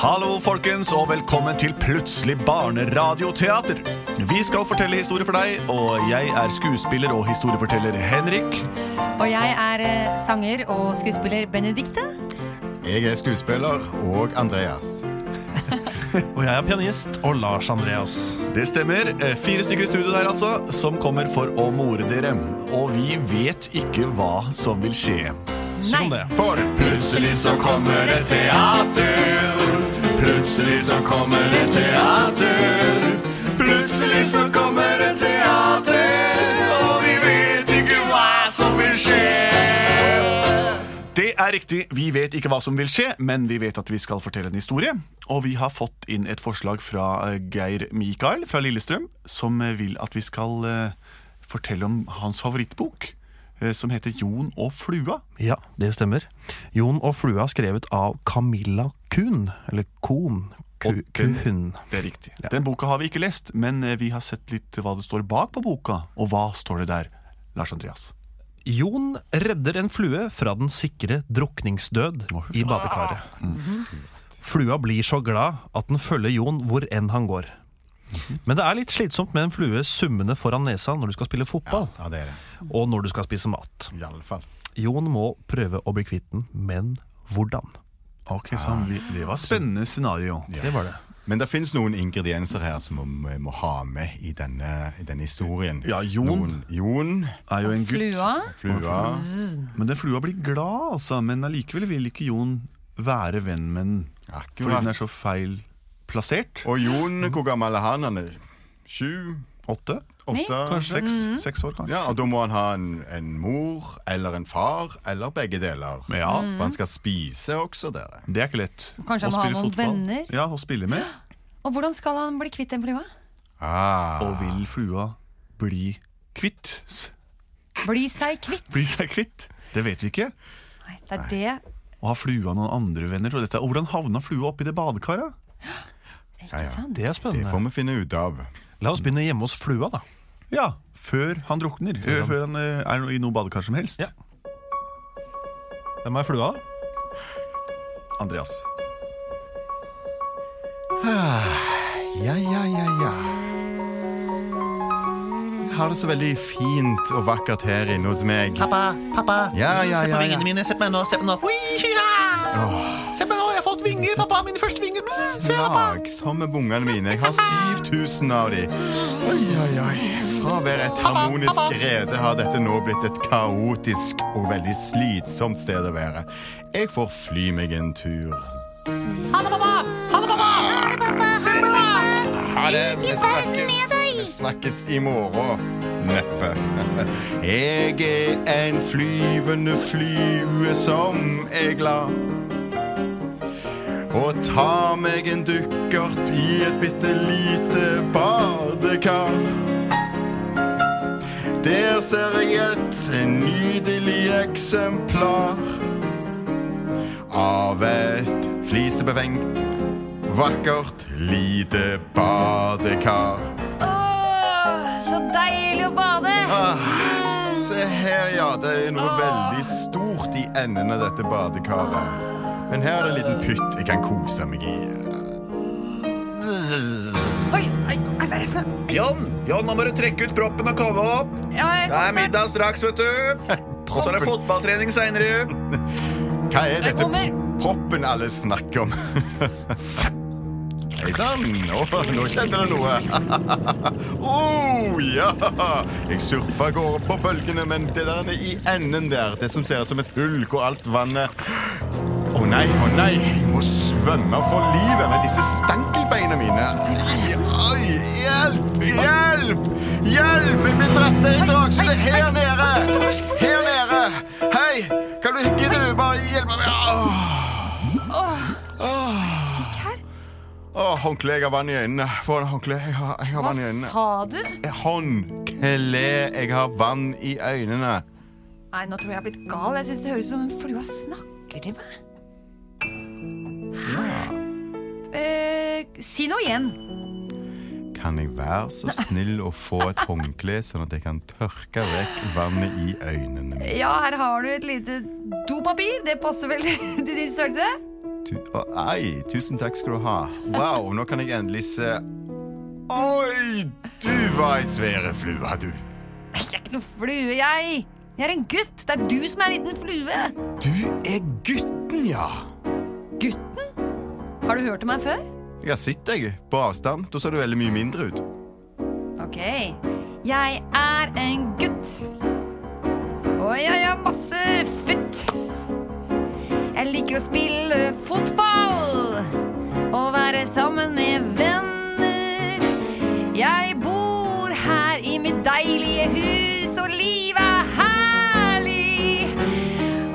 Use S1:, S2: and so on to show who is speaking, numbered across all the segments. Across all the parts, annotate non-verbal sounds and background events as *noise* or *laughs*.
S1: Hallo, folkens, og velkommen til Plutselig barneradioteater. Vi skal fortelle historier for deg, og jeg er skuespiller og historieforteller Henrik.
S2: Og jeg er eh, sanger og skuespiller Benedikte.
S3: Jeg er skuespiller og Andreas.
S4: Og jeg er pianist og Lars Andreas.
S1: Det stemmer. eh, Fire stykker i studio der, altså, som kommer for å more dere. Og vi vet ikke hva som vil skje.
S2: Nei.
S4: Sånn det.
S3: For
S1: Plutselig så kommer det teater. Plutselig så kommer det teater. Plutselig så kommer det teater. Og vi vet ikke hva som vil skje. Det er riktig. Vi vet ikke hva som vil skje, men vi vet at vi skal fortelle en historie. Og vi har fått inn et forslag fra eh, Geir Mikael fra Lillestrøm, som eh, vil at vi skal eh, fortelle om hans favorittbok, eh, som heter Jon og flua.
S4: Ja, det stemmer. Jon og flua skrevet av Camilla Kuhn. Eller Kohn. Ku-
S1: Og den-
S4: Kuhn.
S1: Det er riktig.
S4: Ja.
S1: Den boka har vi ikke lest, men eh, vi har sett litt hva det står bak på boka. Og hva står det der, Lars Andreas?
S4: Jon redder en flue fra den sikre drukningsdød i badekaret. Mm-hmm. Flua blir så glad at den følger Jon hvor enn han går. Men det er litt slitsomt med en flue summende foran nesa når du skal spille fotball,
S3: Ja, det er det.
S4: og når du skal spise mat.
S3: I alle fall.
S4: Jon må prøve å bli kvitt den, men hvordan?
S1: Ok, sånn, vi, Det var spennende scenario.
S3: Ja.
S4: Det var det.
S3: Men det fins noen ingredienser her som vi må ha med i denne, i denne historien.
S1: Ja, Jon.
S3: Noen, Jon,
S1: Er jo en gutt.
S2: Flua.
S3: flua.
S1: Men den flua blir glad, altså. Men allikevel vil ikke Jon være venn med den. Fordi den er
S3: Akkurat.
S1: så feil plassert.
S3: Og Jon, hvor gammel er han? han er Sju?
S1: Åtte?
S3: Åtte?
S1: Kanskje seks?
S2: Mm-hmm.
S1: Seks år, kanskje.
S3: Ja, og da må han ha en, en mor eller en far eller begge deler.
S1: Ja.
S3: For han skal spise også, dere.
S1: Det er ikke lett. Å
S2: Kanskje han må ha
S1: spille
S2: noen
S1: fotball.
S2: venner?
S1: Ja, og spille med.
S2: Og hvordan skal han bli kvitt den flua?
S3: Ah.
S1: Og vil flua bli kvitt? s-
S2: Bli seg kvitt.
S1: Bli seg kvitt? Det vet vi ikke.
S2: Nei, det er det.
S1: Og har flua noen andre venner? Og, dette, og hvordan havna flua oppi det badekaret?
S2: Ikke sant?
S4: Det er
S3: Det
S4: spennende.
S3: får vi finne ut av.
S4: La oss begynne hjemme hos flua, da.
S1: Ja, før han drukner. Før, før han eh, er i noe badekar som helst.
S4: Ja. Hvem er flua? da?
S1: Andreas.
S3: Ah, Ja, ja, ja, ja. Jeg har det så veldig fint og vakkert her inne hos meg.
S5: Pappa, pappa,
S3: Ja, ja,
S5: se på
S3: ja, ja.
S5: vingene mine. Se på meg nå. Se på meg nå. Ui, ja. Se på meg nå, jeg har fått vinger. Pappa, mine første vinger. Psst, Se, pappa.
S3: Lagsomme bungene mine. Jeg har 7000 av de. Oi, oi, oi. Fra å være et harmonisk rede har dette nå blitt et kaotisk og veldig slitsomt sted å være. Jeg får fly meg en tur.
S5: Ha det, pappa. Ha det, pappa. Ha det, pappa. Ha det, pappa.
S3: Ha det. Vi snakkes, vi snakkes i morgen. Neppe. *laughs* Jeg er en flyvende flue som er glad. Og tar meg en dukkert i et bitte lite badekar. Der ser jeg et nydelig eksemplar av et flisebevengt, vakkert lite badekar.
S2: Åh, så deilig å bade!
S3: Ah, se her, ja. Det er noe veldig stort i enden av dette badekaret. Men her er det en liten pytt jeg kan kose meg i.
S2: Oi, ai, ai, hva er det for noe?
S1: Jon, Jon, nå må du trekke ut proppen og komme opp.
S2: Ja, jeg kommer.
S1: middag straks, vet du. Og så er det fotballtrening seinere.
S3: Hva er
S2: Jeg
S3: dette
S2: kommer.
S3: proppen alle snakker om? *laughs* Hei sann, nå, nå skjedde det noe. oh, ja. Jeg surfa av gårde på bølgene, men det der nede i enden der, det som ser ut som et hull hvor alt vannet Å nei, å nei, jeg må svømme for livet med disse stankelbeina mine. Ai, ai, hjelp, hjelp! Hjelp! Jeg blir dratt ned i dragsuget her nede! Her nede! Hei, kan du gidder du bare hjelpe meg? Åh.
S2: Her?
S3: Åh, håndkle. Jeg har vann i øynene. Få en håndkle. Jeg har, jeg har
S2: Hva
S3: vann i øynene.
S2: sa du?
S3: Håndkle. Jeg har vann i øynene.
S2: Nei, nå tror jeg jeg er blitt gal. Jeg synes det høres ut som flua snakker til meg. Hæ? Eh, si noe igjen.
S3: Kan jeg være så snill å få et håndkle, sånn at jeg kan tørke vekk vannet i øynene mine?
S2: *laughs* Ja, her har du et lite dopapir. Det passer vel til din størrelse?
S3: Tu Å, ei, tusen takk skal du ha. Wow, nå kan jeg endelig se Oi, du var ei svære flue, du.
S2: Jeg er ikke noe flue, jeg. Jeg er en gutt. Det er du som er en liten flue.
S3: Du er gutten, ja.
S2: Gutten? Har du hørt om meg før?
S3: Jeg har sett deg på avstand. Da ser du veldig mye mindre ut.
S2: Ok. Jeg er en gutt. Og jeg har masse futt. Jeg liker å spille fotball og være sammen med venner. Jeg bor her i mitt deilige hus, og livet er herlig.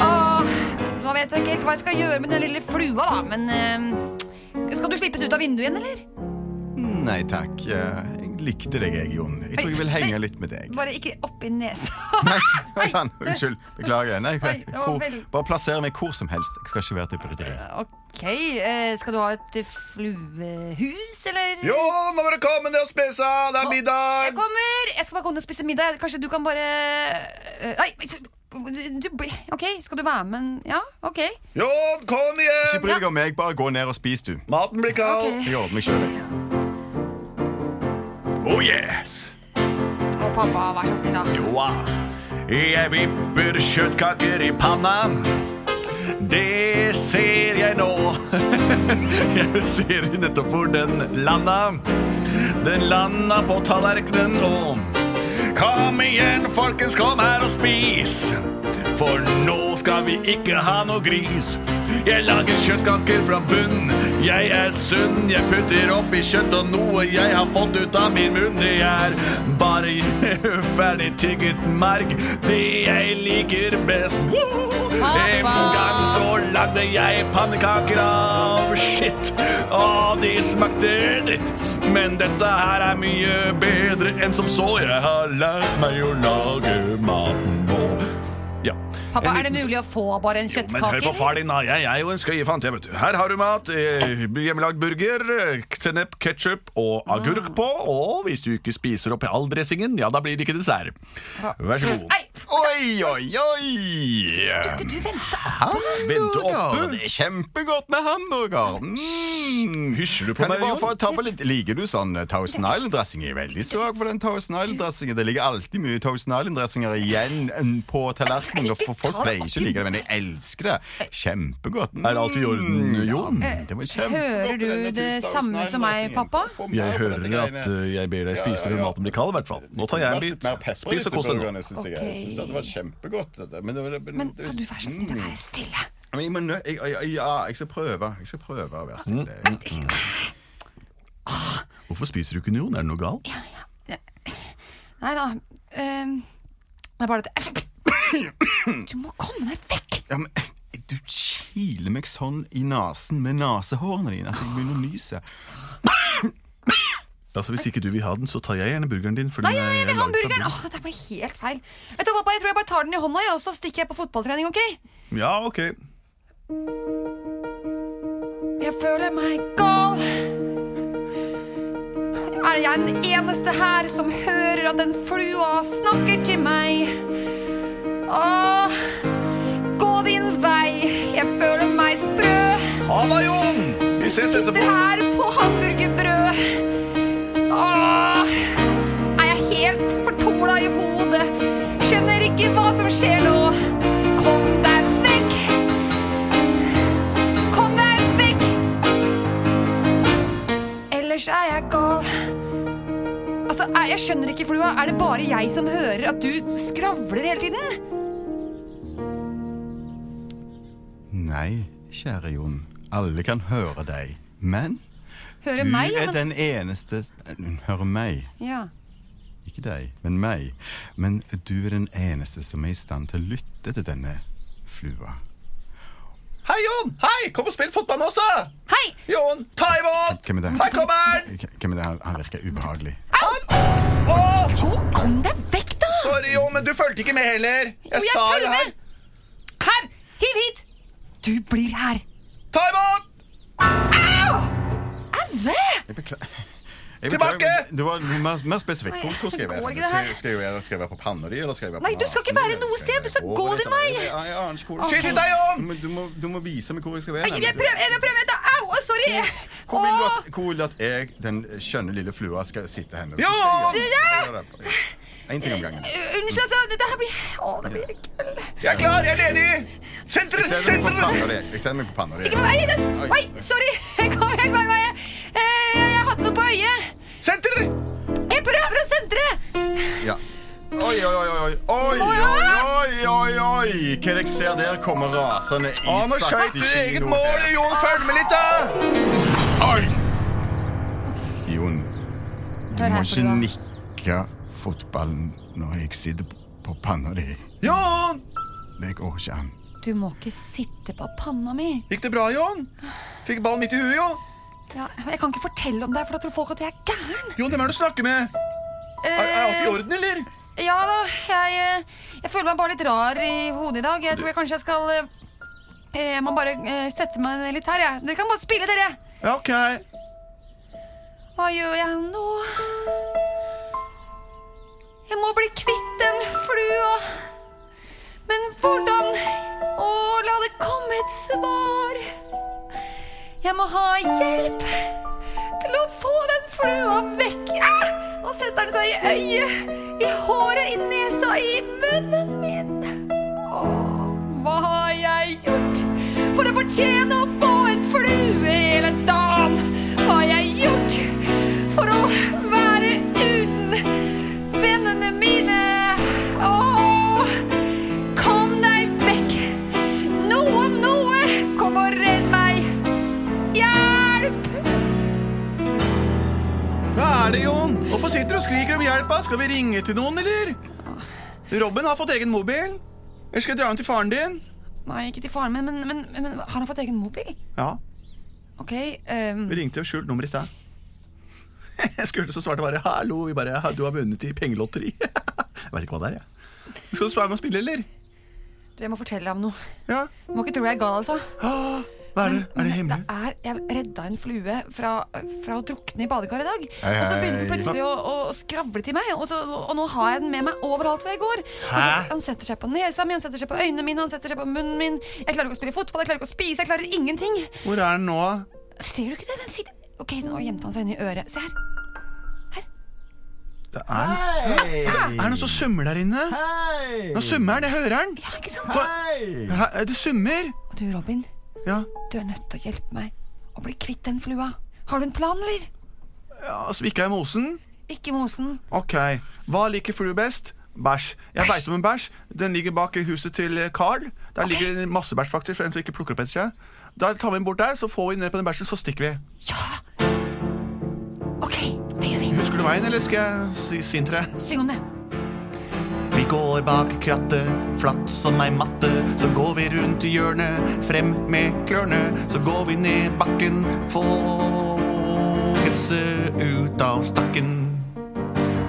S2: Åh, nå vet jeg ikke helt hva jeg skal gjøre med den lille flua, da, men eh, Skal du slippes ut av vinduet igjen, eller?
S3: Nei takk. Eh, Jeg likte deg, jeg, Jon. Jeg tror jeg vil henge litt med deg.
S2: Bare ikke oppi nesa.
S3: Nei, oi *laughs* sann. Unnskyld. Beklager. Nei,
S2: Oi, det var
S3: hvor,
S2: veldig-
S3: bare plasser meg hvor som helst. Jeg skal ikke være til bryderi.
S2: Ok, eh, skal du ha et eh, fluehus, eller?
S3: Jo, nå må du komme ned og spise! Det er
S2: Jeg
S3: middag!
S2: kommer! Jeg skal bare gå ned og spise middag. Kanskje du kan bare eh, Nei, du- du blir Ok, skal du være med? en- Ja, ok.
S5: Jon, kom igjen!
S3: Ikke bry deg om meg, bare gå ned og spis, du.
S5: Maten blir kald.
S2: Ok.
S3: Jeg ordner meg sjøl.
S1: Oh yes!
S2: Og pappa, vær så snill, da.
S1: Joa. Jeg vipper kjøttkaker i panna. Det ser jeg nå. *laughs* Jeg ser nettopp hvor den landa. Den landa på tallerkenen og Kom igjen, folkens, kom her og spis. For nå skal vi ikke ha noe gris. Jeg lager kjøttkaker fra bunn. Jeg er sunn. Jeg putter oppi kjøtt og noe jeg har fått ut av min munn. Det er bare *laughs* ferdig tygget merg. Det jeg liker best. Woo! En gang så lagde jeg pannekaker av skitt. Og de smakte dritt. Men dette her er mye bedre enn som så. Jeg har lært meg å lage maten nå. Ja.
S2: Pappa,
S1: En
S2: er det
S1: liten-
S2: mulig å få bare en
S1: men hør på
S2: kjøttkake?
S1: far din, da. Jeg er jo en skøyefant. jeg, vet du. Her har du mat. eh, Hjemmelagd burger, eh, sennep, ketsjup og agurk på. Og hvis du ikke spiser opp i all dressingen, ja, da blir det ikke dessert. Vær så god.
S2: Nei,
S3: Oi, oi, oi!
S2: du venter.
S1: Vente
S3: Hamburger!
S1: oppe.
S3: Det er kjempegodt med hamburger. Mm.
S1: Hysjer du på
S3: Kan
S1: meg,
S3: jeg bare få
S1: Jon?
S3: tabbe litt? Liker du sånn eh, Thousand Island-dressing? Jeg er veldig svak for den Thousand Island-dressingen. Det ligger alltid mye Thousand Island-dressinger igjen mm, på tallerkenen. og For folk pleier ikke å like det, men jeg elsker det. Kjempegodt. Mm.
S1: Er alt i orden, Jon?
S3: Ja, det var kjempegodt
S2: Eh, Hører
S3: med
S2: du
S3: denne
S2: det
S3: Thousand
S2: samme som meg,
S3: Island-dressingen.
S2: pappa?
S3: Få mer
S1: Jeg
S3: på dette
S1: hører
S3: greiene.
S1: at eh, jeg ber deg spise
S3: Ja,
S1: når
S3: ja, ja.
S1: maten blir kald, i hvert fall. Nå tar jeg en bit. Spis og kos deg nå.
S3: Synes jeg.
S2: Ok.
S3: jeg synes at det var kjempegodt. dette. Men, det, var- men,
S2: Men kan du være så snill å
S1: Mm.
S2: være stille?
S3: Men jeg, må nø- jeg, jeg, jeg, ja, jeg skal prøve. Jeg skal prøve å være
S1: Mm.
S3: stille.
S1: Hvorfor spiser du ikke, Jon? Er det noe galt? Mm.
S2: Nei da. ehm, det er bare dette *coughs* Du må komme deg vekk!
S3: Ja, men, eh, du kiler meg sånn i nesen med nesehårene dine at jeg begynner å nyse.
S1: Altså, Hvis ikke du vil ha den, så tar jeg gjerne burgeren din. fordi
S2: Nei,
S1: den er-
S2: jeg
S1: er
S2: vil
S1: laget
S2: ha
S1: fra
S2: hamburgeren!
S1: bunn.
S2: Åh, det ble helt feil. Vet du, hva, pappa, Jeg tror jeg bare tar den i hånda, jeg, og så stikker jeg på fotballtrening. ok?
S1: Ja, ok.
S2: Jeg føler meg gal. Er jeg den eneste her som hører at den flua snakker til meg? Åh, gå din vei. Jeg føler meg sprø.
S1: Ha det, Jon! Vi ses
S2: Sitter
S1: etterpå.
S2: her på hamburgerbrød. Åh, er jeg helt fortumla i hodet? Skjønner ikke hva som skjer nå. Kom deg vekk! Kom deg vekk! Ellers er jeg gal. Altså, er- Jeg skjønner ikke, Flua. Er det bare jeg som hører at du skravler hele tiden?
S3: Nei, kjære Jon. Alle kan høre deg. Men du
S2: Hører meg? ja,
S3: er
S2: Men...
S3: den eneste s- Mm, Hører meg.
S2: Ja.
S3: Ikke deg, men meg. Men du er den eneste som er i stand til å lytte til denne flua.
S5: Hei, Jon! Hei, Kom og spill fotball med oss, da!
S2: Hei!
S5: Jon, ta imot!
S3: Hvem er det?
S5: Her kommer han!
S3: Hvem er det? Han- Han virker ubehagelig.
S5: Å,
S2: Jo, kom deg vekk, da!
S5: sorry, Jon, men du fulgte ikke med heller. Jeg
S2: Jo, jeg
S5: sa
S2: følger
S5: jo her.
S2: med. Her! Hiv hit! Du blir her.
S5: Ta imot!
S2: Au! Au!
S3: Jeg beklager. *laughs* Jeg
S4: Tilbake!
S3: beklager, men Det var noe mer, mer spesifikt. Hvor, hvor skal jeg
S2: Går
S3: være?
S2: ikke det her?
S3: Skal- Skal jeg være, skal jeg være på panna di, eller skal jeg være på
S2: Nei, du skal ikke
S3: nasen din,
S2: være
S3: eller
S2: noe
S3: jeg
S2: sted, du skal
S3: være
S2: gå
S3: over
S2: din
S3: dette?
S2: vei.
S3: Jeg- jeg- jeg aner ikke hvor.
S4: Skyt i deg, Jan!
S3: Du må- Du må, du må vise meg hvor jeg skal være.
S2: Jeg, jeg prøver, jeg prøver, da. Au, å, sorry.
S3: Hvor vil du
S2: Åh.
S3: at, hvor vil du at jeg, den skjønne lille flua, skal sitte hen?
S4: Ja!
S3: En ting om gangen.
S2: Eh, Unnskyld, altså. Dette her blir Å, det blir gull.
S4: Jeg er klar, jeg er ledig! Sentrum,
S3: Jeg sender meg på panna di. Jeg sender meg på panna di.
S2: Ikke med meg. Oi, Oi, sorry. Jeg kom helt feil vei. Eh, Jeg hadde noe på øyet.
S4: Senter!
S2: Jeg prøver å sentre.
S3: Ja. Oi, oi, oi, oi, oi,
S2: Å,
S3: oi,
S2: ja!
S3: oi, oi, oi. Hva jeg ser der kommer rasende i
S4: Å, nå skjøt du eget mål! Jon, følg med litt, da!
S3: Oi! Jon, du
S2: Hør
S3: må
S2: her,
S3: ikke
S2: Frua.
S3: nikke fotballen når jeg sitter på panna di.
S4: Jon!
S3: Det går ikke an.
S2: Du må ikke sitte på panna mi.
S4: Gikk det bra, Jon? Fikk ballen midt i huet, jo.
S2: Ja, jeg kan ikke fortelle om deg, for da tror folk at jeg er gæren.
S4: Jon, hvem er det du snakker med?
S2: Eh,
S4: orden, eller?
S2: ja da, jeg, eh, jeg føler meg bare litt rar i hodet i dag. Jeg tror jeg kanskje jeg skal eh, eh, Jeg må bare eh, sette meg ned litt her, jeg. Dere kan bare spille, dere.
S3: Eh.
S4: Ja, ok.
S2: Hva gjør jeg nå? Jeg må bli kvitt den flua. Men hvordan? Å, la det komme et svar. Jeg må ha hjelp til å få den flua vekk. Ah! Nå setter den seg i øyet, i håret, i nesa, i munnen min. Åh, hva har jeg gjort for å fortjene å få en flue hele dagen? Hva har jeg gjort for å være uten vennene mine? Åh, kom deg vekk! Noe om noe, kom og redd meg! Hjelp!
S1: Hva er det, Jon? Hvorfor sitter du og skriker om hjelp? da? Skal vi ringe til noen, eller? Robin har fått egen mobil. Eller skal jeg dra den til faren din?
S2: Nei, ikke til faren min, men, men, men har han fått egen mobil?
S1: Ja,
S2: Ok, ehm,
S1: vi ringte jo skjult nummer i sted. *laughs* Jeg skulle så svarte bare 'hallo', vi bare 'du har vunnet i pengelotteri'. *laughs* Jeg vet ikke hva det er, jeg. Skal du være med og spille, eller?
S2: du, jeg må fortelle deg om noe.
S1: Ja.
S2: Du må ikke tro jeg er gal, altså.
S1: Ah, Hva er det? Er det hemmelig?
S2: Det er, jeg redda en flue fra, fra å drukne i badekaret i dag.
S3: Hei,
S2: Og så begynner den
S3: hei.
S2: plutselig å, å, å skravle til meg, og, så, og nå har jeg den med meg overalt hvor jeg går. Og så,
S1: Hæ?
S2: han setter seg på nesa mi, han setter seg på øynene mine, han setter seg på munnen min. Jeg klarer ikke å spille fotball, jeg klarer ikke å spise, jeg klarer ingenting.
S1: Hvor er den nå?
S2: Ser du ikke det? Den sitter Ok, nå gjemte han seg inni øret. Se her.
S1: Det er den. Er det noen som summer der inne? Nå summer den, jeg hører den.
S2: Ja, ikke sant?
S1: Hva? Hæ, Det summer.
S2: Og du, Robin,
S1: Ja.
S2: du er nødt til å hjelpe meg å bli kvitt den flua. Har du en plan, eller?
S1: ja altså, Svikka i mosen?
S2: Ikke mosen.
S1: Ok. Hva liker flue best? Bæsj. Jeg veit om en bæsj. Den ligger bak i huset til eh, Carl. Der ligger det masse bæsj, faktisk, for en som ikke plukker opp etter seg. Da tar vi den bort der, så får vi den ned på den bæsjen, så stikker vi.
S2: Ja! Ok, det gjør vi.
S1: Husker du veien, eller skal jeg si, si den til deg?
S2: Syng om det.
S1: Vi går bak krattet, flatt som ei matte. Så går vi rundt i hjørnet, frem med klørne. Så går vi ned bakken, får gresset ut av stakken.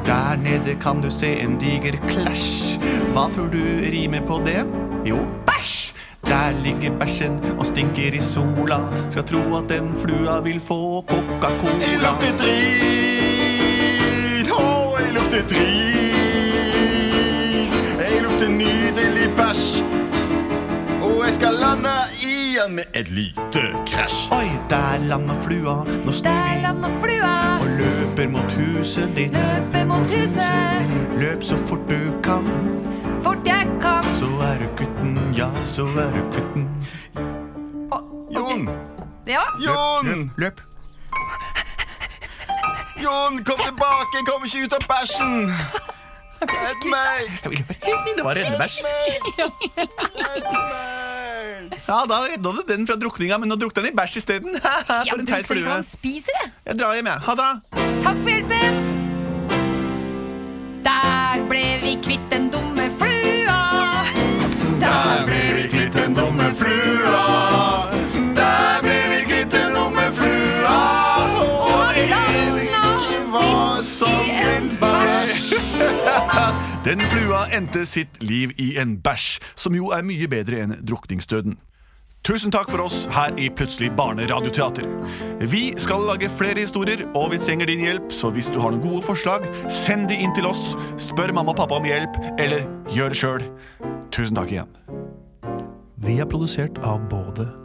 S1: Der nede kan du se en diger clash. Hva tror du rimer på det? Jo, bæsj! Der ligger bæsjen og stinker i sola. Skal tro at den flua vil få
S3: Jeg
S1: Coca-Cola.
S3: lukter drit. Å, jeg lukter drit. Jeg lukter nydelig bæsj. Og jeg skal lande igjen med et lite krasj.
S1: Oi, der landa flua. Nå snur
S2: Der
S1: vi.
S2: landa flua.
S1: og løper mot huset ditt.
S2: Løper mot huset.
S1: Løp så fort du kan,
S2: Fort jeg kan.
S1: så er du gutten, ja, så er du gutten.
S2: Å,
S3: Jon!
S2: ja,
S3: Jon!
S1: Løp.
S3: Jon, kom tilbake! Jeg kommer ikke ut av bæsjen! Redd meg!
S1: Jeg vil løpe. *laughs* Det var reddebæsj.
S3: Redd meg!
S1: Ja, da redda du den fra drukninga, men nå drukte den i bæsj isteden. *laughs* Haha,
S2: ja
S1: For en teit flue.
S2: Han spiser det.
S1: Jeg drar hjem, jeg. Ha det.
S2: Takk for hjelpen. Der ble vi kvitt den dumme flua.
S3: Der ble vi kvitt den dumme flua. Der ble vi kvitt den dumme flua. Og jeg vet ikke hva som en bæsj.
S1: *laughs* Den flua endte sitt liv i en bæsj, som jo er mye bedre enn drukningsdøden. Tusen takk for oss her i Plutselig barneradioteater. Vi skal lage flere historier, og vi trenger din hjelp, så hvis du har noen gode forslag, send de inn til oss, spør mamma og pappa om hjelp, eller gjør det sjøl. Tusen takk igjen.
S4: Vi er produsert av både